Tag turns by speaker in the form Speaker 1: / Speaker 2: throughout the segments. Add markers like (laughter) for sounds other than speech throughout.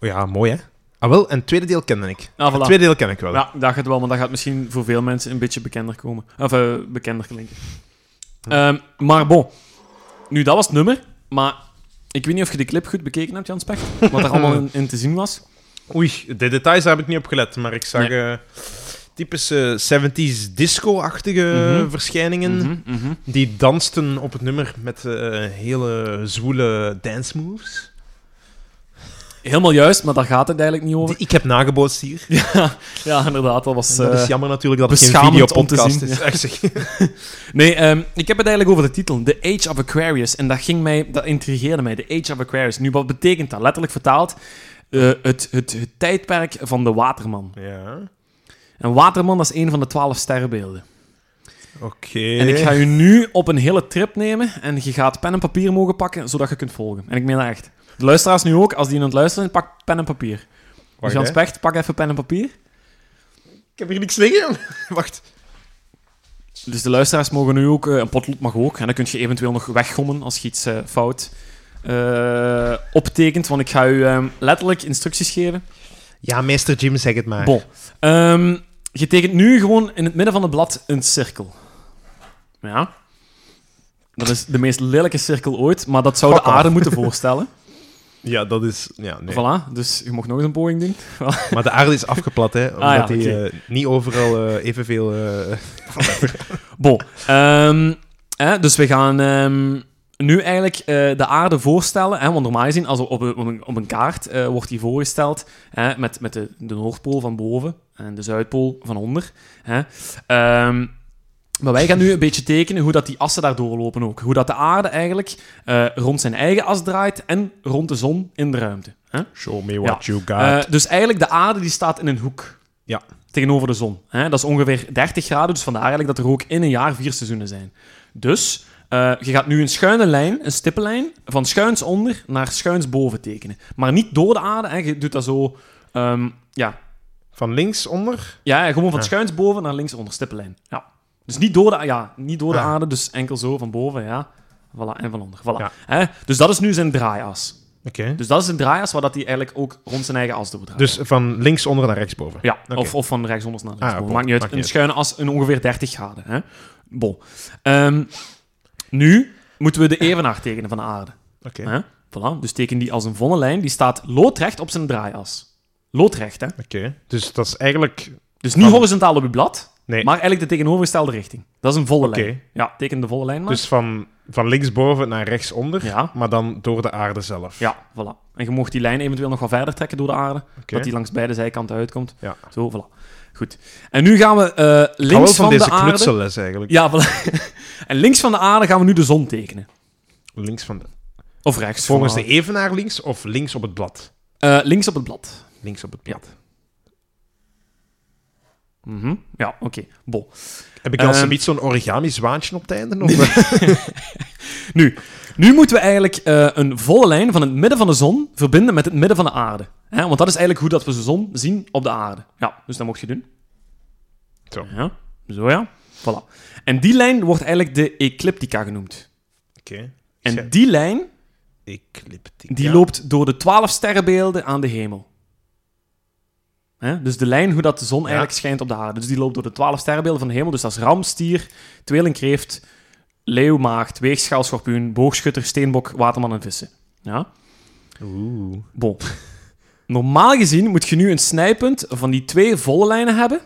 Speaker 1: Ja, mooi hè? Ah wel, en het tweede deel kende ik.
Speaker 2: Ah, voilà.
Speaker 1: Het tweede deel ken ik wel.
Speaker 2: Ja, dat gaat wel, want dat gaat misschien voor veel mensen een beetje bekender komen. Of eh, bekender klinken. Ehm, maar bon, nu dat was het nummer, maar ik weet niet of je de clip goed bekeken hebt, Jan Specht, wat er allemaal in, in te zien was.
Speaker 1: Oei, de details daar heb ik niet op gelet, maar ik zag eh, typische 70s disco-achtige
Speaker 2: Mhm.
Speaker 1: verschijningen.
Speaker 2: (laughs) Mhm, mhm.
Speaker 1: Die dansten op het nummer met eh, hele zwoele dance moves.
Speaker 2: Helemaal juist, maar daar gaat het eigenlijk niet over.
Speaker 1: Die ik heb nagebootst hier.
Speaker 2: Ja, inderdaad, dat was...
Speaker 1: dat
Speaker 2: eh,
Speaker 1: is jammer natuurlijk dat het geen
Speaker 2: beschamend om
Speaker 1: videopodcast
Speaker 2: te zien,
Speaker 1: is. Echt zeg.
Speaker 2: Nee, ehm, ik heb het eigenlijk over de titel, The Age of Aquarius. En dat, ging mij, dat intrigeerde mij, The Age of Aquarius. Nu, wat betekent dat? Letterlijk vertaald, eh, het, het, het tijdperk van de waterman.
Speaker 1: Ja,
Speaker 2: En waterman, dat is een van de twaalf sterrenbeelden.
Speaker 1: oké.
Speaker 2: En ik ga
Speaker 1: Eh.
Speaker 2: u nu op een hele trip nemen en je gaat pen en papier mogen pakken, zodat je kunt volgen. En ik meen dat echt. De luisteraars nu ook, als die aan het luisteren zijn, pak pen en papier. Dus
Speaker 1: Wacht,
Speaker 2: Jan
Speaker 1: hè.
Speaker 2: Specht, pak even pen en papier.
Speaker 1: Ik heb hier niks liggen. (laughs) Wacht.
Speaker 2: Dus de luisteraars mogen nu ook, eh, een potlood mag ook, en dan kun je eventueel nog weggommen als je iets eh, fout eh, optekent, want ik ga u eh, letterlijk instructies geven.
Speaker 1: Ja, meester Jim, zeg het maar.
Speaker 2: Bon. Ehm, je tekent nu gewoon in het midden van het blad een cirkel. Ja. Dat is de meest lelijke cirkel ooit, maar dat zou de
Speaker 1: Fuck off.
Speaker 2: aarde moeten
Speaker 1: (laughs)
Speaker 2: voorstellen.
Speaker 1: Ja, dat is... Ja, nee.
Speaker 2: Voilà, dus je mag nog eens een poging doen.
Speaker 1: Maar de aarde is afgeplat, hè. Omdat
Speaker 2: Ah, ja,
Speaker 1: die
Speaker 2: oké.
Speaker 1: eh, niet overal eh, evenveel... eh,
Speaker 2: Bon. ehm, hè, dus we gaan ehm, nu eigenlijk eh, de aarde voorstellen. Hè, want normaal gezien, als op een, op een, op een kaart eh, wordt die voorgesteld hè, met, met de, de Noordpool van boven en de Zuidpool van onder. Hè. Ehm, maar wij gaan nu een beetje tekenen hoe dat die assen daar doorlopen ook. Hoe dat de aarde eigenlijk eh, rond zijn eigen as draait en rond de zon in de ruimte. Hè?
Speaker 1: Show me
Speaker 2: what
Speaker 1: you got.
Speaker 2: Eh, dus eigenlijk de aarde die staat in een hoek.
Speaker 1: Ja.
Speaker 2: Tegenover de zon. Hè? Dat is ongeveer 30 graden, dus vandaar eigenlijk dat er ook in een jaar vier seizoenen zijn. Dus eh, je gaat nu een schuine lijn, een stippenlijn, van schuins onder naar schuins boven tekenen. Maar niet door de aarde, hè? je doet dat zo... ehm, ja.
Speaker 1: Van links onder?
Speaker 2: Ja, ja, gewoon van
Speaker 1: Ah.
Speaker 2: schuins boven naar links onder, stippenlijn. Ja. Dus niet door de, ja, niet door de
Speaker 1: Ah.
Speaker 2: aarde, dus enkel zo van boven, ja. Voilà, en van onder. Voilà.
Speaker 1: Ja.
Speaker 2: Hè? Dus dat is nu zijn draaias.
Speaker 1: Oké.
Speaker 2: Dus dat is een draaias waar dat hij eigenlijk ook rond zijn eigen as doordraait.
Speaker 1: Dus van links onder naar rechts boven.
Speaker 2: Ja,
Speaker 1: Oké.
Speaker 2: of, of van rechtsonder naar linksboven.
Speaker 1: Ah, bon,
Speaker 2: maakt niet uit.
Speaker 1: maakt
Speaker 2: een
Speaker 1: niet uit.
Speaker 2: schuine as in ongeveer 30 graden. Hè? Bon. Ehm, nu moeten we de evenaar tekenen van de aarde.
Speaker 1: Oké.
Speaker 2: Hè? Voilà. Dus teken die als een volle lijn. Die staat loodrecht op zijn draaias. Loodrecht, hè.
Speaker 1: Oké. Dus dat is eigenlijk...
Speaker 2: Dus niet
Speaker 1: Van-
Speaker 2: horizontaal op je blad,
Speaker 1: Nee.
Speaker 2: maar eigenlijk de tegenovergestelde richting. Dat is een volle lijn. Ja, teken de volle lijn maar.
Speaker 1: Dus van, van linksboven naar rechtsonder,
Speaker 2: Ja.
Speaker 1: maar dan door de aarde zelf.
Speaker 2: Ja, voilà. En je mocht die lijn eventueel nog wat verder trekken door de aarde.
Speaker 1: Oké.
Speaker 2: Dat die langs beide zijkanten uitkomt.
Speaker 1: Ja.
Speaker 2: Zo, voilà. Goed. En nu gaan we eh,
Speaker 1: Ik hou
Speaker 2: links
Speaker 1: wel van, deze
Speaker 2: de aarde...
Speaker 1: knutseles eigenlijk.
Speaker 2: Ja, voilà. (laughs) En links van de aarde gaan we nu de zon tekenen.
Speaker 1: Links van de...
Speaker 2: Of rechts. van
Speaker 1: Volgens de e-
Speaker 2: aarde.
Speaker 1: evenaar links of links op het blad?
Speaker 2: Eh, links op het blad.
Speaker 1: Links op het
Speaker 2: Ja.
Speaker 1: blad.
Speaker 2: Mhm. Ja, oké. Bon.
Speaker 1: Heb ik dan
Speaker 2: Ehm.
Speaker 1: zoiets zo'n origami zwaantje op het einde?
Speaker 2: (laughs)
Speaker 1: Of...
Speaker 2: Nu, nu moeten we eigenlijk eh, een volle lijn van het midden van de zon verbinden met het midden van de aarde. Hè, want dat is eigenlijk hoe dat we de zon zien op de aarde. Ja, dus dat mocht je doen.
Speaker 1: Zo.
Speaker 2: Ja, zo ja. Voilà. En die lijn wordt eigenlijk de ecliptica genoemd.
Speaker 1: Oké.
Speaker 2: En
Speaker 1: Ja.
Speaker 2: die lijn
Speaker 1: Ecliptica.
Speaker 2: Die loopt door de twaalf sterrenbeelden aan de hemel. Hè? Dus de lijn hoe dat de zon eigenlijk schijnt op de aarde. Dus die loopt door de twaalf sterrenbeelden van de hemel. Dus dat is ram, stier, tweelingkreeft, leeuw, maagd, weegschaal, schorpioen, boogschutter, steenbok, waterman en vissen. Ja?
Speaker 1: Oeh.
Speaker 2: Bon. (laughs) Normaal gezien moet je nu een snijpunt van die twee volle lijnen hebben.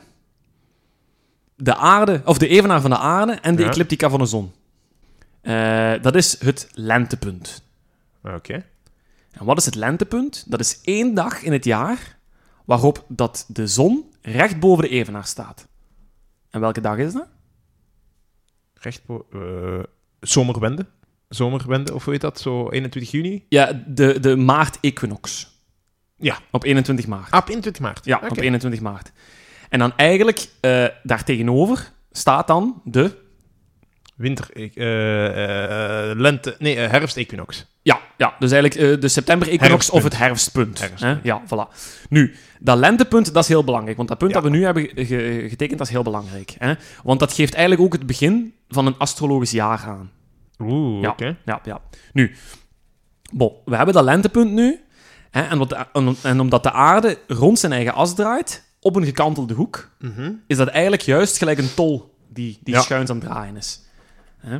Speaker 2: De aarde, of de evenaar van de aarde en de
Speaker 1: Ja.
Speaker 2: ecliptica van de zon. Eh, dat is het lentepunt.
Speaker 1: Oké.
Speaker 2: En wat is het lentepunt? Dat is één dag in het jaar waarop dat de zon recht boven de evenaar staat. En welke dag is dat?
Speaker 1: Recht bo- eh, zomerwende. Zomerwende, of hoe heet dat? Zo 21 juni?
Speaker 2: Ja, de, de maart-equinox.
Speaker 1: Ja.
Speaker 2: Op 21 maart.
Speaker 1: Ah, op 21 maart.
Speaker 2: Ja,
Speaker 1: Oké.
Speaker 2: op 21 maart. En dan eigenlijk eh daartegenover staat dan de...
Speaker 1: Winter... eh, eh, eh, lente... Nee, eh, herfst-equinox.
Speaker 2: Ja, ja dus eigenlijk eh, de september-equinox
Speaker 1: Herfstpunt.
Speaker 2: of het herfstpunt.
Speaker 1: Herfstpunt.
Speaker 2: hè? Ja, voilà. Nu, dat lentepunt, dat is heel belangrijk. Want dat punt
Speaker 1: Ja.
Speaker 2: dat we nu hebben ge- ge- getekend, dat is heel belangrijk. Hè? Want dat geeft eigenlijk ook het begin van een astrologisch jaar aan.
Speaker 1: Oeh,
Speaker 2: Ja,
Speaker 1: oké.
Speaker 2: ja, ja. Nu, bon, we hebben dat lentepunt nu. Hè, en, wat de- en- en omdat de aarde rond zijn eigen as draait, op een gekantelde hoek, is dat eigenlijk juist gelijk een tol die, die
Speaker 1: Ja.
Speaker 2: schuins aan het draaien is. Hè?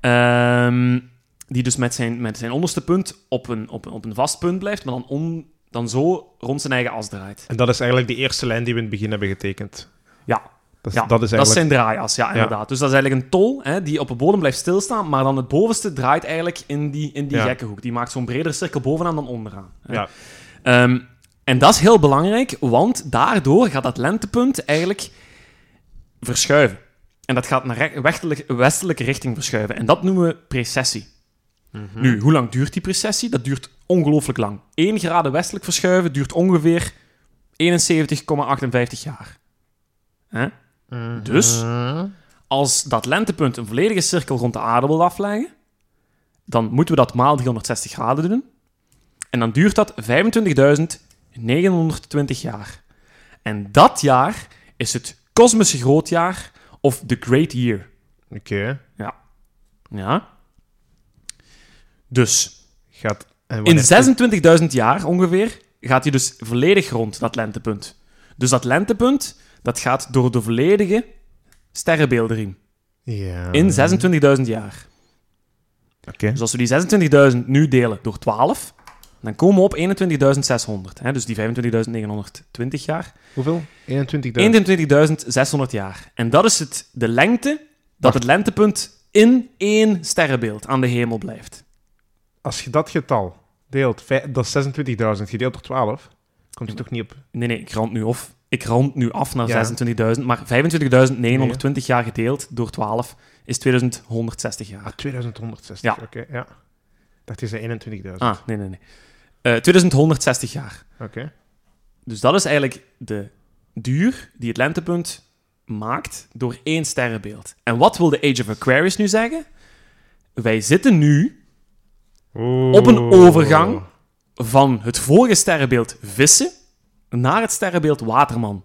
Speaker 2: Ehm, die dus met zijn, met zijn onderste punt op een, op, een- op een vast punt blijft, maar dan, om, dan zo rond zijn eigen as draait.
Speaker 1: En dat is eigenlijk de eerste lijn die we in het begin hebben getekend.
Speaker 2: Ja,
Speaker 1: Dat, is- Dus
Speaker 2: ja
Speaker 1: dat is
Speaker 2: dat is
Speaker 1: eigenlijk...
Speaker 2: zijn draaias, ja, inderdaad. Dus dat is eigenlijk een tol hè, die op de bodem blijft stilstaan, maar dan het bovenste draait eigenlijk in die, in die
Speaker 1: Ja.
Speaker 2: gekke hoek. Die maakt zo'n bredere cirkel bovenaan dan onderaan. hè.
Speaker 1: Ja.
Speaker 2: Ehm, en dat is heel belangrijk, want daardoor gaat dat lentepunt eigenlijk verschuiven. En dat gaat naar re- westelijk- westelijke richting verschuiven. En dat noemen we precessie.
Speaker 1: Mhm.
Speaker 2: Nu, hoe lang duurt die precessie? Dat duurt ongelooflijk lang. 1 graden westelijk verschuiven duurt ongeveer 71,58 jaar. Hè? Dus, als dat lentepunt een volledige cirkel rond de aarde wil afleggen, dan moeten we dat maal 360 graden doen. En dan duurt dat 25.920 jaar. En dat jaar is het kosmische grootjaar of the Great Year.
Speaker 1: Oké.
Speaker 2: Ja. Dus
Speaker 1: Gaat... En wanneer-
Speaker 2: in 26.000 jaar ongeveer gaat hij dus volledig rond, dat lentepunt. Dus dat lentepunt dat gaat door de volledige sterrenbeeldering.
Speaker 1: Ja.
Speaker 2: In 26.000 jaar.
Speaker 1: Oké.
Speaker 2: Dus als we die 26.000 nu delen door 12, dan komen we op 21.600. Hè? Dus die 25.920 jaar.
Speaker 1: Hoeveel? 21.000.
Speaker 2: 21.600 jaar. En dat is het, de lengte dat het lentepunt in één sterrenbeeld aan de hemel blijft.
Speaker 1: Als je dat getal deelt, vij- dat is 26.000, gedeeld door 12, komt je toch niet op...
Speaker 2: Nee, nee, ik rond nu af. Ik rond nu af naar
Speaker 1: Ja.
Speaker 2: 26.000, maar 25.920 jaar gedeeld door 12 is 2160 jaar.
Speaker 1: Ah, 2160.
Speaker 2: Ja.
Speaker 1: Oké, ja. Dat is eh, de 21.000.
Speaker 2: Ah, nee, nee, nee. Eh 2160 jaar.
Speaker 1: Oké.
Speaker 2: Dus dat is eigenlijk de duur die het lentepunt maakt door één sterrenbeeld. En wat wil de Age of Aquarius nu zeggen? Wij zitten nu op een overgang van het vorige sterrenbeeld vissen naar het sterrenbeeld waterman.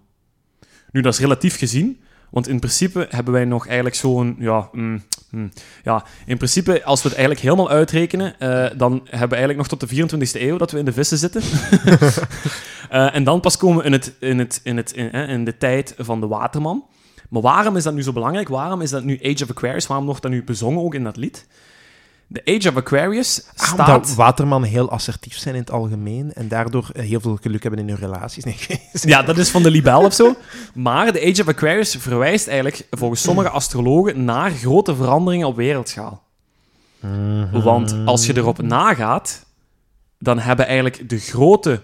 Speaker 2: Nu, dat is relatief gezien, want in principe hebben wij nog eigenlijk zo'n... Ja, mm, mm, ja, in principe, als we het eigenlijk helemaal uitrekenen, eh, dan hebben we eigenlijk nog tot de 24e eeuw dat we in de vissen zitten. Eh, en dan pas komen we in, het, in, het, in, het, in, hè, in de tijd van de waterman. Maar waarom is dat nu zo belangrijk? Waarom is dat nu Age of Aquarius? Waarom wordt dat nu bezongen ook in dat lied? De Age of Aquarius
Speaker 1: Ah,
Speaker 2: staat...
Speaker 1: Omdat waterman heel assertief zijn in het algemeen en daardoor eh, heel veel geluk hebben in hun relaties. Nee, (laughs)
Speaker 2: Ja, dat is van de libel of zo. Maar de Age of Aquarius verwijst eigenlijk volgens sommige astrologen naar grote veranderingen op wereldschaal.
Speaker 1: Mhm.
Speaker 2: Want als je erop nagaat, dan hebben eigenlijk de grote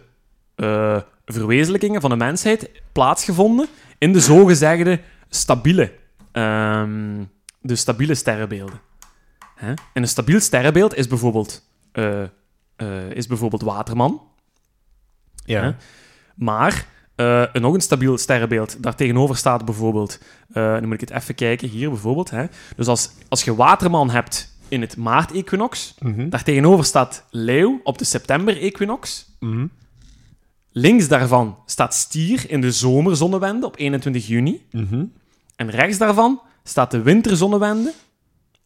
Speaker 2: eh, verwezenlijkingen van de mensheid plaatsgevonden in de zogezegde stabiele, ehm, de stabiele sterrenbeelden. Hè? En een stabiel sterrenbeeld is bijvoorbeeld, eh, eh, is bijvoorbeeld Waterman.
Speaker 1: ja.
Speaker 2: Maar eh, een nog een stabiel sterrenbeeld. Daartegenover staat bijvoorbeeld, eh nu moet ik het even kijken, hier bijvoorbeeld. Hè. Dus als, als je waterman hebt in het maart-equinox,
Speaker 1: Mhm.
Speaker 2: daartegenover staat leeuw op de september-equinox.
Speaker 1: Mhm.
Speaker 2: Links daarvan staat stier in de zomerzonnewende op 21 juni.
Speaker 1: Mhm.
Speaker 2: En rechts daarvan staat de winterzonnewende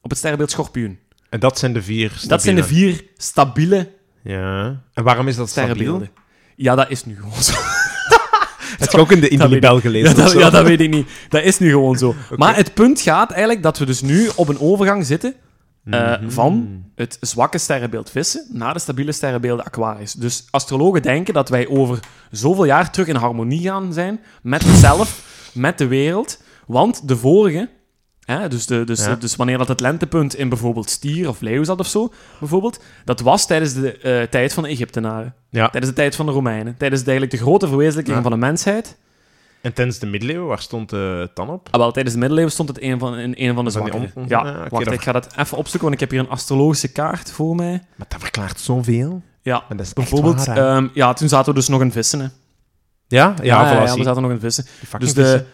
Speaker 2: op het sterrenbeeld schorpioen.
Speaker 1: En dat zijn de vier
Speaker 2: Dat zijn de
Speaker 1: stabiele.
Speaker 2: vier stabiele
Speaker 1: Ja. En waarom is dat stabiel?
Speaker 2: sterrenbeelden. Ja, dat is nu gewoon zo.
Speaker 1: Heb je ook in de, in
Speaker 2: Dat
Speaker 1: de
Speaker 2: weet
Speaker 1: libel gelezen?
Speaker 2: Ja
Speaker 1: of
Speaker 2: dat,
Speaker 1: zo?
Speaker 2: ja, dat weet ik niet. Dat is nu gewoon zo. Maar het punt gaat eigenlijk dat we dus nu op een overgang zitten eh,
Speaker 1: Mhm.
Speaker 2: van het zwakke sterrenbeeld vissen naar de stabiele sterrenbeelden Aquarius. Dus astrologen denken dat wij over zoveel jaar terug in harmonie gaan zijn met
Speaker 1: (laughs)
Speaker 2: onszelf, met de wereld. Want de vorige, hè, dus, de, dus,
Speaker 1: Ja.
Speaker 2: dus wanneer dat het lentepunt in bijvoorbeeld stier of leeuw zat of zo, bijvoorbeeld, dat was tijdens de eh, tijd van de Egyptenaren.
Speaker 1: Ja.
Speaker 2: Tijdens de tijd van de Romeinen. Tijdens de, eigenlijk de grote verwezenlijking
Speaker 1: Ja.
Speaker 2: van de mensheid.
Speaker 1: En tijdens de middeleeuwen, waar stond de tan op?
Speaker 2: Ah, wel, tijdens de middeleeuwen stond het een van, in een van de
Speaker 1: Van die
Speaker 2: zwakkere.
Speaker 1: on- on-
Speaker 2: ja,
Speaker 1: ah, oké,
Speaker 2: wacht,
Speaker 1: dat-
Speaker 2: ik ga dat even opzoeken, want ik heb hier een astrologische kaart voor mij.
Speaker 1: Maar dat verklaart zoveel.
Speaker 2: Ja,
Speaker 1: En dat is echt
Speaker 2: bijvoorbeeld,
Speaker 1: waar, hè.
Speaker 2: ehm, ja, toen zaten we dus nog in vissen. Hè. Ah,
Speaker 1: ja? Ja,
Speaker 2: ja,
Speaker 1: voilà,
Speaker 2: ja,
Speaker 1: zie.
Speaker 2: we zaten nog in vissen.
Speaker 1: Die fucking
Speaker 2: Dus de,
Speaker 1: vissen.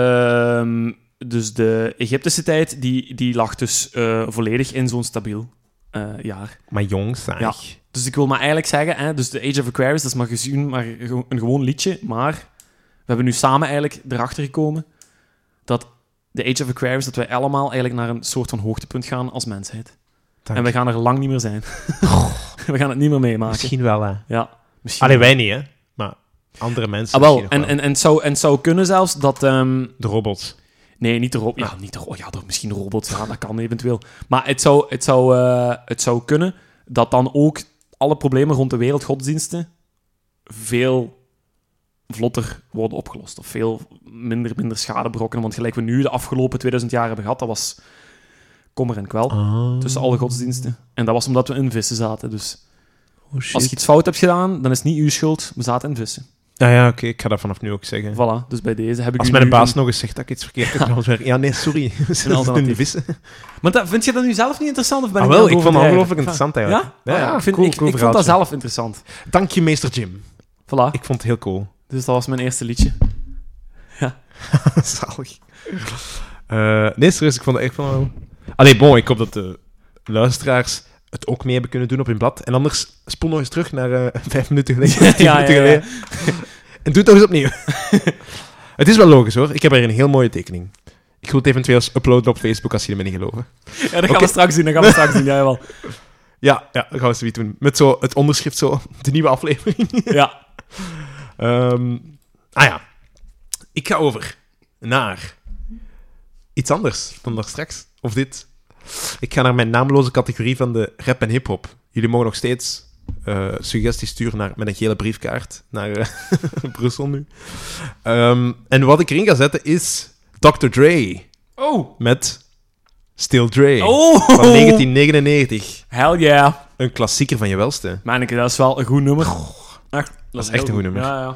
Speaker 2: ehm, dus de Egyptische tijd, die, die lag dus eh, volledig in zo'n stabiel eh, jaar.
Speaker 1: Maar jong, saai.
Speaker 2: Ja. Dus ik wil maar eigenlijk zeggen, hè, dus de Age of Aquarius, dat is maar gezien, maar ge- een gewoon liedje. Maar we hebben nu samen eigenlijk erachter gekomen dat de Age of Aquarius, dat wij allemaal eigenlijk naar een soort van hoogtepunt gaan als mensheid.
Speaker 1: Dank.
Speaker 2: En we gaan er lang niet meer zijn. we gaan het niet meer meemaken.
Speaker 1: Misschien wel, hè.
Speaker 2: Ja. Misschien
Speaker 1: Alleen wij niet, hè? Maar andere mensen.
Speaker 2: Ah, wel.
Speaker 1: misschien nog
Speaker 2: En, en, en, het zou, en het zou kunnen zelfs dat... ehm,
Speaker 1: de robots.
Speaker 2: nee, niet de robot.
Speaker 1: Ah.
Speaker 2: Ja, niet de ro- Ja, er, misschien de robots. Ja, dat kan eventueel. Maar het zou, het, zou, eh, het zou kunnen dat dan ook alle problemen rond de wereldgodsdiensten veel vlotter worden opgelost. Of veel minder, minder schade berokkenen. Want gelijk we nu de afgelopen 2000 jaar hebben gehad, dat was kommer en kwel.
Speaker 1: Dus
Speaker 2: Tussen
Speaker 1: Ah.
Speaker 2: alle godsdiensten. En dat was omdat we in vissen zaten. Dus als je iets fout hebt gedaan, dan is het niet uw schuld. We zaten in vissen.
Speaker 1: Nou ja, oké, ik ga dat vanaf nu ook zeggen.
Speaker 2: Voilà, dus bij deze heb ik
Speaker 1: Als
Speaker 2: u
Speaker 1: mijn
Speaker 2: nu
Speaker 1: baas
Speaker 2: een-
Speaker 1: nog eens zegt dat ik iets verkeerd heb, dan zeg ik, ja, nee, sorry. (laughs) We zitten in de
Speaker 2: alternatief.
Speaker 1: vissen.
Speaker 2: Maar dat, vind je dat nu zelf niet interessant? Of ben
Speaker 1: Ah,
Speaker 2: ik
Speaker 1: wel, ik
Speaker 2: aan
Speaker 1: vond het
Speaker 2: overdrijven?
Speaker 1: ongelooflijk interessant
Speaker 2: Ja?
Speaker 1: eigenlijk.
Speaker 2: Ah, ja, ik, vind,
Speaker 1: cool,
Speaker 2: ik,
Speaker 1: cool
Speaker 2: ik vond dat
Speaker 1: verhaaltje.
Speaker 2: zelf interessant.
Speaker 1: Dank je, meester Jim.
Speaker 2: Voilà,
Speaker 1: Ik vond het heel
Speaker 2: (laughs)
Speaker 1: cool.
Speaker 2: dus dat was mijn eerste (laughs) liedje.
Speaker 1: Zalig. Eh, nee, serieus, ik vond het echt van... wel- Allee, bon, ik hoop dat de luisteraars het ook mee hebben kunnen doen op hun blad. En anders spoel nog eens terug naar eh, (laughs) vijf minuten
Speaker 2: (laughs)
Speaker 1: geleden, tien
Speaker 2: ja,
Speaker 1: minuten
Speaker 2: ja, ja.
Speaker 1: geleden. en doe het nog eens opnieuw. (laughs) het is wel logisch, hoor. Ik heb er een heel mooie tekening. Ik wil het eventueel eens uploaden op Facebook als jullie me niet geloven.
Speaker 2: Ja, dat gaan
Speaker 1: Oké.
Speaker 2: we straks zien, dat gaan we straks zien, jij wel.
Speaker 1: Ja, ja, dat gaan we zoiets doen. Met zo het onderschrift zo, de nieuwe aflevering. (laughs)
Speaker 2: Ja.
Speaker 1: Ehm, ah ja. Ik ga over naar iets anders dan daar straks. Of dit. Ik ga naar mijn naamloze categorie van de rap en hip-hop. Jullie mogen nog steeds eh, suggesties sturen naar, met een gele briefkaart naar eh, (laughs) Brussel nu. Ehm, en wat ik erin ga zetten is Dr. Dre
Speaker 2: Oh!
Speaker 1: met Still Dre
Speaker 2: Oh!
Speaker 1: van 1999.
Speaker 2: Hell yeah.
Speaker 1: Een klassieker van je welste.
Speaker 2: Manneke, dat is wel een goed nummer. Echt, dat,
Speaker 1: is
Speaker 2: heel
Speaker 1: echt een goed nummer.
Speaker 2: Ja, ja.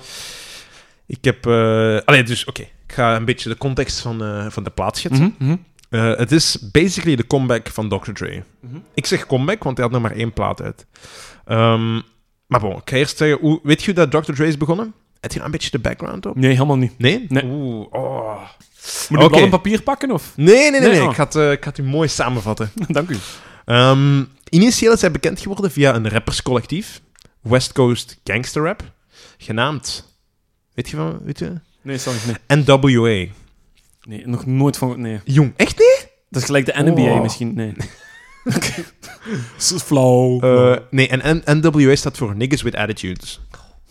Speaker 1: Ik heb... eh allee, dus oké. Ik ga een beetje de context van, eh, van de plaats schetsen. Eh, het is basically de comeback van Dr. Dre.
Speaker 2: Mhm.
Speaker 1: Ik zeg comeback, want hij had nog maar één plaat uit. Ehm, maar bon, ik ga eerst zeggen... Hoe, weet je hoe dat Dr. Dre is begonnen? Heb je daar een beetje de background op?
Speaker 2: Nee, helemaal niet.
Speaker 1: Nee?
Speaker 2: Nee.
Speaker 1: Oeh, oh.
Speaker 2: Moet ik
Speaker 1: Oké.
Speaker 2: blad en papier pakken, of? (laughs)
Speaker 1: Nee, nee, nee. nee,
Speaker 2: Nee, oh.
Speaker 1: Ik, ga het, eh, ik ga het u mooi samenvatten.
Speaker 2: Dank u.
Speaker 1: Ehm, initieel is hij bekend geworden via een rapperscollectief. West Coast Gangster Rap. Genaamd... Weet je van... Weet je?
Speaker 2: Nee, sorry, nee.
Speaker 1: NWA.
Speaker 2: Nee, nog nooit van... Nee.
Speaker 1: Jong, echt niet?
Speaker 2: Dat is gelijk de NBA
Speaker 1: Oh. (laughs)
Speaker 2: misschien, nee. Oké. (laughs) Zo flauw.
Speaker 1: Eh, nee, en N- NWA staat voor Niggas with Attitudes.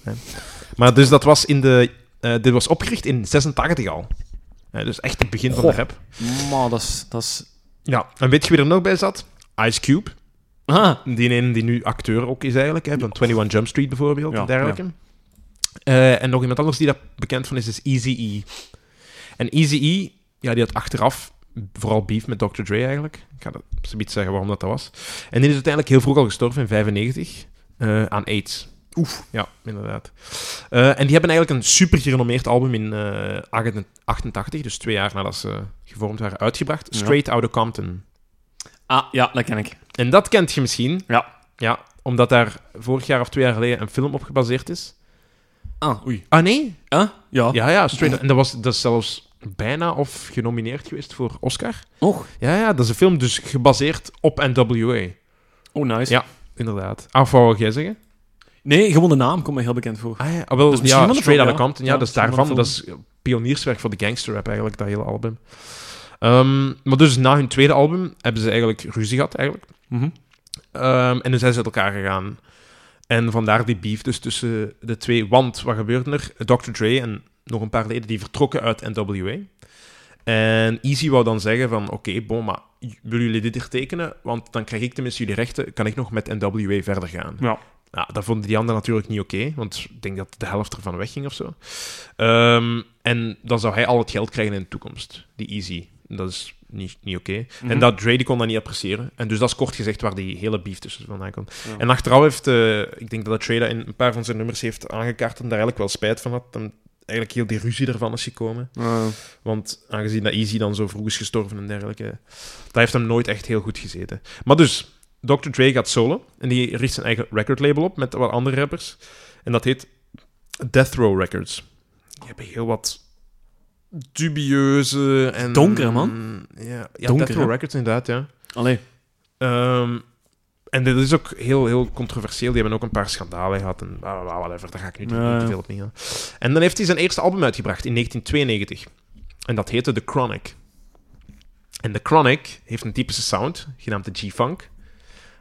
Speaker 1: Hè. Maar dus dat was in de... eh, dit was opgericht in 86 al. Eh, dus echt het begin van de
Speaker 2: Goh.
Speaker 1: rap.
Speaker 2: Maar dat is... Dat is...
Speaker 1: Ja, en weet je wie er nog bij zat? Ice Cube.
Speaker 2: Ah.
Speaker 1: Die ene die nu acteur ook is eigenlijk, hè, van 21 Jump Street bijvoorbeeld
Speaker 2: Ja,
Speaker 1: en dergelijke. Eh, en nog iemand anders die daar bekend van is, is Eazy-E. En Eazy-E, ja, die had achteraf vooral beef met Dr. Dre eigenlijk. Ik ga dat zoiets zeggen waarom dat, dat was. En die is uiteindelijk heel vroeg al gestorven in 95 eh, aan AIDS. Oef. Ja, inderdaad. Eh, en die hebben eigenlijk een super gerenommeerd album in eh, 88, dus twee jaar nadat ze gevormd waren, uitgebracht.
Speaker 2: Ja.
Speaker 1: Straight Outta Compton.
Speaker 2: ah, ja, dat ken ik.
Speaker 1: En dat kent je misschien.
Speaker 2: Ja.
Speaker 1: Ja, omdat daar vorig jaar of twee jaar geleden een film op gebaseerd is.
Speaker 2: Ah, oei.
Speaker 1: Ah, nee? Oh.
Speaker 2: Huh? Ja.
Speaker 1: Ja, ja, straight up. En dat, was, dat is zelfs bijna of genomineerd geweest voor Oscar.
Speaker 2: Och.
Speaker 1: Ja, ja, dat is een film dus gebaseerd op NWA.
Speaker 2: Oh, nice.
Speaker 1: Ja. Inderdaad. Ah, wat wou jij zeggen?
Speaker 2: Nee, gewoon de naam komt me heel bekend voor.
Speaker 1: Ah, ja, ah, wel,
Speaker 2: Dat is misschien
Speaker 1: ja,
Speaker 2: van de
Speaker 1: Straight
Speaker 2: film,
Speaker 1: Outta
Speaker 2: ja.
Speaker 1: Compton. Ja,
Speaker 2: Ja,
Speaker 1: dat is
Speaker 2: misschien van
Speaker 1: daarvan.
Speaker 2: de
Speaker 1: Dat is pionierswerk voor de gangster rap eigenlijk, dat hele album. Ehm, maar dus na hun tweede album hebben ze eigenlijk ruzie gehad, eigenlijk. Mhm. Ehm, en dus zijn ze uit elkaar gegaan. En vandaar die beef dus tussen de twee. Want wat gebeurde er? Dr. Dre en nog een paar leden die vertrokken uit NWA. En Easy wou dan zeggen van... Oké, bon, maar willen jullie dit hier tekenen? Want dan krijg ik tenminste jullie rechten. Kan ik nog met NWA verder gaan?
Speaker 2: Ja.
Speaker 1: Nou, dat vonden die anderen natuurlijk niet oké. want ik denk dat de helft ervan wegging of zo. Ehm, en dan zou hij al het geld krijgen in de toekomst. Die Easy. Dat is niet, niet oké.
Speaker 2: Mhm.
Speaker 1: En dat Dre die kon dat niet appreciëren. En dus dat is kort gezegd waar die hele beef tussen vandaan komt.
Speaker 2: Ja.
Speaker 1: En achteraf heeft... eh, ik denk dat Dre dat in een paar van zijn nummers heeft aangekaart... en daar eigenlijk wel spijt van had. En eigenlijk heel die ruzie ervan is gekomen.
Speaker 2: Eh,
Speaker 1: Want aangezien dat Easy dan zo vroeg is gestorven en dergelijke, dat heeft hem nooit echt heel goed gezeten. Maar dus, Dr. Dre gaat solo en die richt zijn eigen recordlabel op met wat andere rappers. En dat heet Death Row Records. Die hebben heel wat dubieuze en...
Speaker 2: Donkere, man.
Speaker 1: Ja, ja
Speaker 2: Donker,
Speaker 1: Death Row
Speaker 2: hè?
Speaker 1: Records inderdaad, ja.
Speaker 2: Allee.
Speaker 1: Ehm, en dit is ook heel, heel controversieel. Die hebben ook een paar schandalen gehad en bla, bla, bla, whatever. Daar ga ik nu niet
Speaker 2: Ja,
Speaker 1: niet te
Speaker 2: ja.
Speaker 1: veel op ingaan. En dan heeft hij zijn eerste album uitgebracht in 1992. En dat heette The Chronic. En The Chronic heeft een typische sound, genaamd de G-Funk.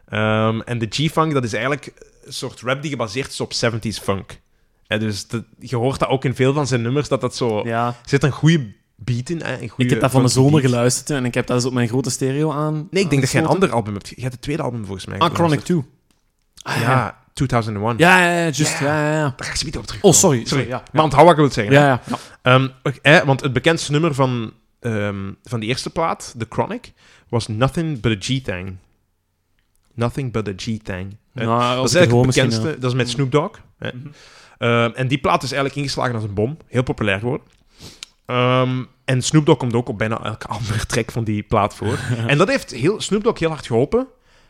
Speaker 1: Ehm, en de G-Funk, dat is eigenlijk soort rap die gebaseerd is op 70s funk. En dus dat- je hoort dat ook in veel van zijn nummers, dat dat zo...
Speaker 2: Ja.
Speaker 1: Er zit een goede beat in, hè, een goede
Speaker 2: Ik heb dat van de
Speaker 1: funky
Speaker 2: zomer
Speaker 1: beat.
Speaker 2: geluisterd en ik heb dat eens op mijn grote stereo aan.
Speaker 1: Nee, ik denk dat jij een
Speaker 2: aangesloten.
Speaker 1: ander album hebt. Je hebt het tweede album volgens mij.
Speaker 2: Ah, Chronic
Speaker 1: geluisterd.
Speaker 2: 2. Ah, ja.
Speaker 1: Ja, 2001.
Speaker 2: Ja, ja, ja, just,
Speaker 1: Ja.
Speaker 2: ja, ja, ja.
Speaker 1: Daar ga ik ze niet op terug.
Speaker 2: Oh, sorry,
Speaker 1: Sorry,
Speaker 2: sorry, ja.
Speaker 1: Maar onthoud wat ik wil zeggen.
Speaker 2: Ja, ja. ja.
Speaker 1: Ehm, oké, eh, want het bekendste nummer van, ehm, van die eerste plaat, The Chronic, was Nothing But A G-Thang. Nothing But A G-Thang. Eh,
Speaker 2: Nou,
Speaker 1: dat
Speaker 2: als
Speaker 1: is
Speaker 2: ik het hoor
Speaker 1: eigenlijk het
Speaker 2: misschien,
Speaker 1: bekendste. Dat is met Snoop Dogg. hè.
Speaker 2: Mhm.
Speaker 1: Ehm, en die plaat is eigenlijk ingeslagen als een bom. Heel populair geworden. Ehm, en Snoop Dogg komt ook op bijna elke (laughs) andere track van die plaat
Speaker 2: (laughs)
Speaker 1: voor. en dat heeft heel, Snoop Dogg heel hard geholpen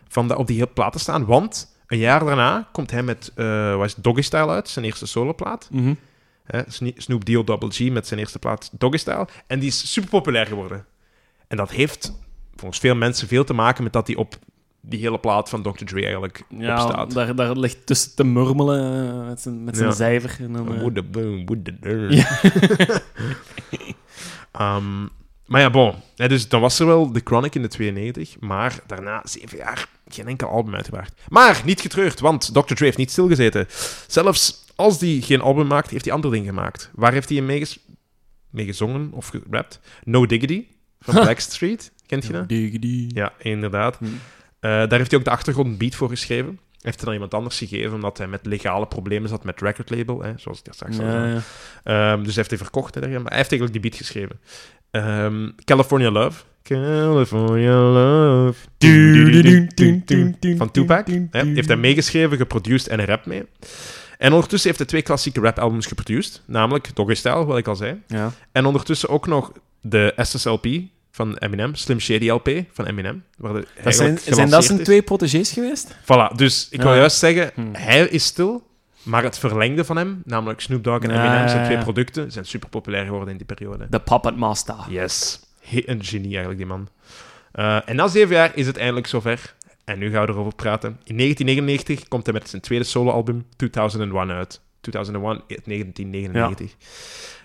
Speaker 1: van dat op die hele plaat te staan. Want een jaar daarna komt hij met eh, wat is het, Doggy Style uit, zijn eerste soloplaat.
Speaker 2: ja. Mhm.
Speaker 1: Hè, Sne- Snoop Dio Double G met zijn eerste plaat Doggy Style. En die is super populair geworden. En dat heeft volgens veel mensen veel te maken met dat die op die hele plaat van Dr. Dre eigenlijk op
Speaker 2: Ja,
Speaker 1: staat.
Speaker 2: daar, daar ligt tussen te murmelen eh, met zijn, met zijn
Speaker 1: Ja.
Speaker 2: cijfer. En dan, eh,
Speaker 1: Woulda boom, woulda durn.
Speaker 2: Ja.
Speaker 1: Ehm, maar ja, bon. Hè, dus dan was er wel The Chronic in de 92, maar daarna zeven jaar geen enkel album uitgebracht. Maar niet getreurd, want Dr. Dre heeft niet stilgezeten. Zelfs als hij geen album maakt, heeft hij andere dingen gemaakt. Waar heeft hij in meeges- mee gezongen of gerapt? No Diggity van
Speaker 2: Ha.
Speaker 1: Blackstreet. Kent je dat?
Speaker 2: Diggity.
Speaker 1: Ja, inderdaad.
Speaker 2: Hm.
Speaker 1: Eh, daar heeft hij ook de achtergrondbeat voor geschreven. Heeft hij dan iemand anders gegeven, omdat hij met legale problemen zat met recordlabel, hè, zoals ik daar straks al zei.
Speaker 2: Ja, ja.
Speaker 1: Ehm, dus hij heeft hij verkocht. Hè, daarin. maar hij heeft eigenlijk die beat geschreven. Ehm, California Love. California Love. Van Tupac. Hè, heeft hij meegeschreven, geproduced en een rap mee. En ondertussen heeft hij twee klassieke rapalbums geproduced. Namelijk Doggy Style, wat ik al zei.
Speaker 2: Ja.
Speaker 1: En ondertussen ook nog de SSLP van Eminem. Slim Shady LP van Eminem. Waar de,
Speaker 2: Dat
Speaker 1: eigenlijk
Speaker 2: zijn, zijn dat
Speaker 1: gelanceerd
Speaker 2: zijn
Speaker 1: is.
Speaker 2: twee protégés geweest?
Speaker 1: Voilà, dus ik wil
Speaker 2: Ja.
Speaker 1: juist zeggen,
Speaker 2: Hm.
Speaker 1: hij is stil, maar het verlengde van hem, namelijk Snoop Dogg en
Speaker 2: Ja,
Speaker 1: Eminem,
Speaker 2: ja,
Speaker 1: zijn
Speaker 2: ja.
Speaker 1: twee producten, zijn super populair geworden in die periode.
Speaker 2: De Puppet Master.
Speaker 1: Yes. He- een genie eigenlijk, die man. Eh, en na zeven jaar is het eindelijk zover. En nu gaan we erover praten. In 1999 komt hij met zijn tweede soloalbum 2001 uit. 2001, eh, 1999.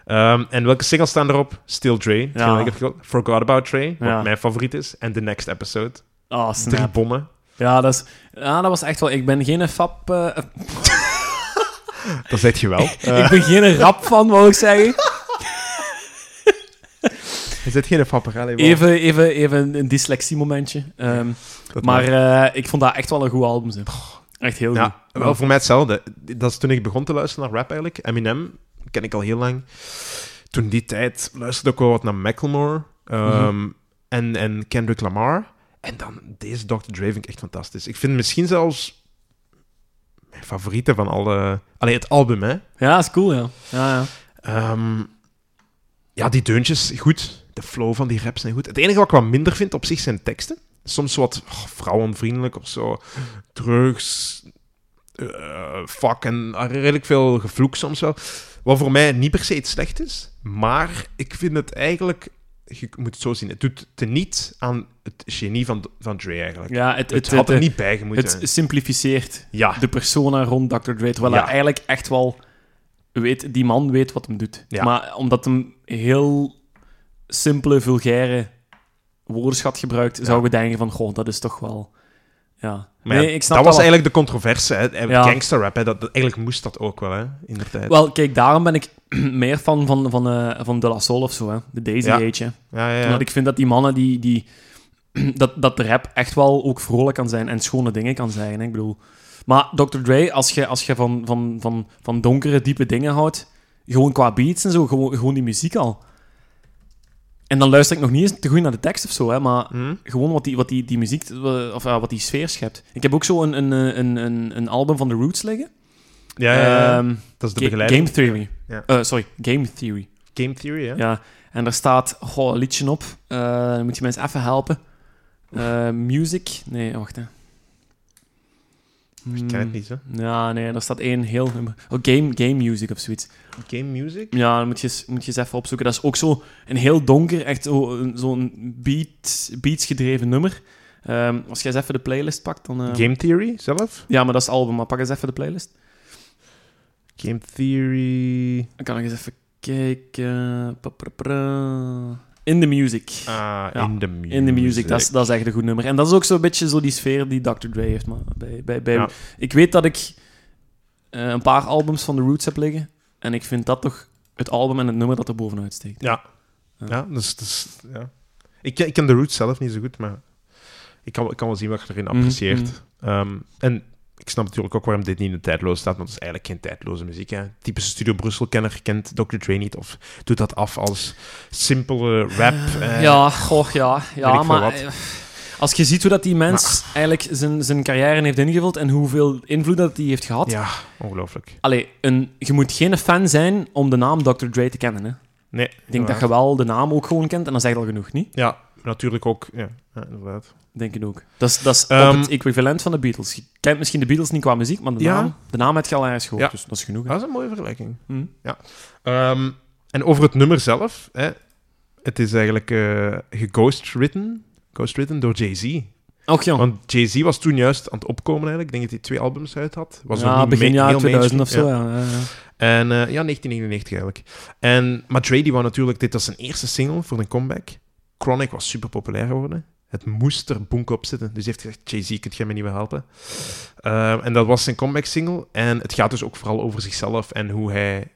Speaker 1: Ehm, en welke singles staan erop? Still Dre, hetgeen wat ik heb gekozen. Forgot About Dre, wat
Speaker 2: Ja.
Speaker 1: mijn favoriet is. En The Next Episode.
Speaker 2: Oh,
Speaker 1: Drie
Speaker 2: snap.
Speaker 1: bommen.
Speaker 2: Ja, dat, is, ja, dat was echt wel... Ik ben geen fap... eh,
Speaker 1: Dat zeg je wel.
Speaker 2: (laughs) ik ben geen rap van, wou ik
Speaker 1: (laughs)
Speaker 2: zeggen.
Speaker 1: Je zit geen fapper, allee, wow.
Speaker 2: Even, even, even een dyslexie-momentje. Ehm,
Speaker 1: Dat
Speaker 2: maar
Speaker 1: mag.
Speaker 2: eh, ik vond dat echt wel een goed album. zeg. Echt heel goed.
Speaker 1: Ja, wel voor mij hetzelfde. Dat is toen ik begon te luisteren naar rap eigenlijk. Eminem ken ik al heel lang. Toen die tijd luisterde ik wel wat naar Macklemore ehm,
Speaker 2: Mhm.
Speaker 1: en, en Kendrick Lamar. En dan deze Dr. Dre vind ik echt fantastisch. Ik vind misschien zelfs mijn favoriete van alle... Allee, het album, hè.
Speaker 2: Ja, is cool, ja. ja, ja.
Speaker 1: Ehm, ja, die deuntjes, goed. De flow van die raps zijn goed. Het enige wat ik wat minder vind op zich zijn teksten. Soms wat oh, vrouwenvriendelijk of zo. Drugs, eh, fuck en redelijk veel gevloek soms wel. Wat voor mij niet per se iets slecht is. Maar ik vind het eigenlijk... Je moet het zo zien. Het doet teniet aan het genie van, van Dre eigenlijk.
Speaker 2: ja het,
Speaker 1: het, had er
Speaker 2: eh,
Speaker 1: niet bij gemoeten.
Speaker 2: het simplificeert
Speaker 1: ja,
Speaker 2: de persona rond Dr. Dre. Terwijl
Speaker 1: Ja.
Speaker 2: hij eigenlijk echt wel weet, die man weet wat hem doet.
Speaker 1: Ja.
Speaker 2: Maar omdat hem heel simpele, vulgaire woordenschat gebruikt, zouden we denken van, goh, dat is toch wel... Ja.
Speaker 1: maar ja,
Speaker 2: nee, ik snap
Speaker 1: dat was
Speaker 2: wel.
Speaker 1: eigenlijk de controverse. Hè.
Speaker 2: Ja.
Speaker 1: Gangster rap, hè. Dat, dat- eigenlijk moest dat ook wel hè, in de tijd.
Speaker 2: Wel, kijk, daarom ben ik (clears throat) meer fan van, van, eh, van De La Soul of zo, hè. De Daisy
Speaker 1: Ja.
Speaker 2: Age, hè.
Speaker 1: Ja, ja, ja.
Speaker 2: Omdat ik vind dat die mannen die... die (clears throat) dat, dat de rap echt wel ook vrolijk kan zijn en schone dingen kan zijn. hè. Ik bedoel... Maar Dr. Dre, als je, als je van, van, van, van donkere, diepe dingen houdt, gewoon qua beats en zo, gewoon, gewoon die muziek al. En dan luister ik nog niet eens te goed naar de tekst of zo, hè, maar
Speaker 1: Hm?
Speaker 2: gewoon wat die, wat die, die muziek, eh, of eh, wat die sfeer schept. Ik heb ook zo een, een, eh, een, een, een album van The Roots liggen.
Speaker 1: Ja, ja, ja.
Speaker 2: Ehm,
Speaker 1: dat is de
Speaker 2: Ga-
Speaker 1: begeleiding.
Speaker 2: Game Theory.
Speaker 1: Ja.
Speaker 2: Eh, sorry, Game Theory.
Speaker 1: Game, Theory, hè?
Speaker 2: Ja. En daar staat goh, een liedje op. Eh, dan moet je mensen even helpen. Eh, music? Nee, wacht. Hè. Hmm.
Speaker 1: Ik ken het niet, hè.
Speaker 2: Ja, nee, daar staat één heel nummer. Oh, game, game music of zoiets.
Speaker 1: Game Music?
Speaker 2: Ja, dan moet je, eens- moet je eens even opzoeken. Dat is ook zo een heel donker, echt zo- een- zo'n beat, beats gedreven nummer. Ehm, als jij eens even de playlist pakt, dan... eh,
Speaker 1: Game Theory zelf?
Speaker 2: Ja, maar dat is het album, maar pak eens even de playlist.
Speaker 1: Game Theory...
Speaker 2: Dan kan ik eens even kijken. Pa, pa, pa. In the Music.
Speaker 1: Ah,
Speaker 2: Ja,
Speaker 1: in the music.
Speaker 2: In the Music, dat is, dat is echt een goed nummer. En dat is ook zo'n beetje zo die sfeer die Dr. Dre heeft. Maar bij, bij, bij,
Speaker 1: Ja.
Speaker 2: Ik weet dat ik eh, een paar albums van The Roots heb liggen. En ik vind dat toch het album en het nummer dat er bovenuit steekt.
Speaker 1: Ja, dus... dus ja. Ik, ken- ik ken de Roots zelf niet zo goed, maar ik kan, ik kan wel zien wat je erin
Speaker 2: Mhm,
Speaker 1: apprecieert.
Speaker 2: mhm.
Speaker 1: Ehm, en ik snap natuurlijk ook waarom dit niet in de tijdloos staat, want het is eigenlijk geen tijdloze muziek. Hè. Typische Studio Brussel-kenner kent Dr. Dre niet of doet dat af als simpele rap. eh,
Speaker 2: Ah, ja, goh, ja.
Speaker 1: Weet ik
Speaker 2: ja
Speaker 1: veel
Speaker 2: maar
Speaker 1: wat.
Speaker 2: eh, als je ziet hoe dat die mens eigenlijk zijn, zijn carrière heeft ingevuld en hoeveel invloed dat die heeft gehad.
Speaker 1: Ja, ongelooflijk.
Speaker 2: Allee, een, je moet geen fan zijn om de naam Dr. Dre te kennen. Hè?
Speaker 1: Nee,
Speaker 2: Ik denk dat je wel de naam ook gewoon kent en dat zegt al genoeg, niet?
Speaker 1: Ja, natuurlijk ook. Ja, ja, inderdaad.
Speaker 2: Denk ik ook. Dat is, dat is
Speaker 1: Ehm,
Speaker 2: op het equivalent van de Beatles. Je kent misschien de Beatles niet qua muziek, maar de,
Speaker 1: Ja.
Speaker 2: naam, de naam heb je al ergens gehoord,
Speaker 1: Ja. Ah.
Speaker 2: dus dat is genoeg. hè.
Speaker 1: Dat is een mooie vergelijking.
Speaker 2: Hm.
Speaker 1: Ehm, en over het nummer zelf. Hè, het is eigenlijk eh geghostwritten, ghostwritten door Jay-Z.
Speaker 2: Och jong.
Speaker 1: Want Jay-Z was toen juist aan het opkomen eigenlijk. Ik denk dat hij twee albums uit had. Was nog
Speaker 2: ja,
Speaker 1: niet
Speaker 2: begin
Speaker 1: me-
Speaker 2: jaar
Speaker 1: heel
Speaker 2: 2000 of zo.
Speaker 1: mainstream, ja.
Speaker 2: Ja. ja, ja.
Speaker 1: En eh, ja, 1999 eigenlijk. En, maar Dre die wou natuurlijk... Dit was zijn eerste single voor een comeback. Chronic was super populair geworden. Het moest er bonk op zitten. Dus hij heeft gezegd, Jay-Z, kunt jij me niet meer helpen? Ehm, en dat was zijn comeback single. En het gaat dus ook vooral over zichzelf en hoe hij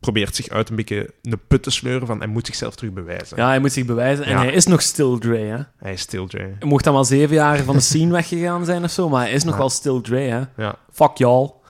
Speaker 1: probeert zich uit een beetje de put te sleuren van hij moet zichzelf terug bewijzen.
Speaker 2: Ja, hij moet zich bewijzen. En
Speaker 1: Ja.
Speaker 2: hij is nog still Dre, hè.
Speaker 1: Hij is still Dre.
Speaker 2: Hij mocht dan wel zeven jaar van de scene weggegaan zijn of zo, maar hij is nog
Speaker 1: Ja.
Speaker 2: wel still Dre, hè.
Speaker 1: Ja.
Speaker 2: Fuck y'all.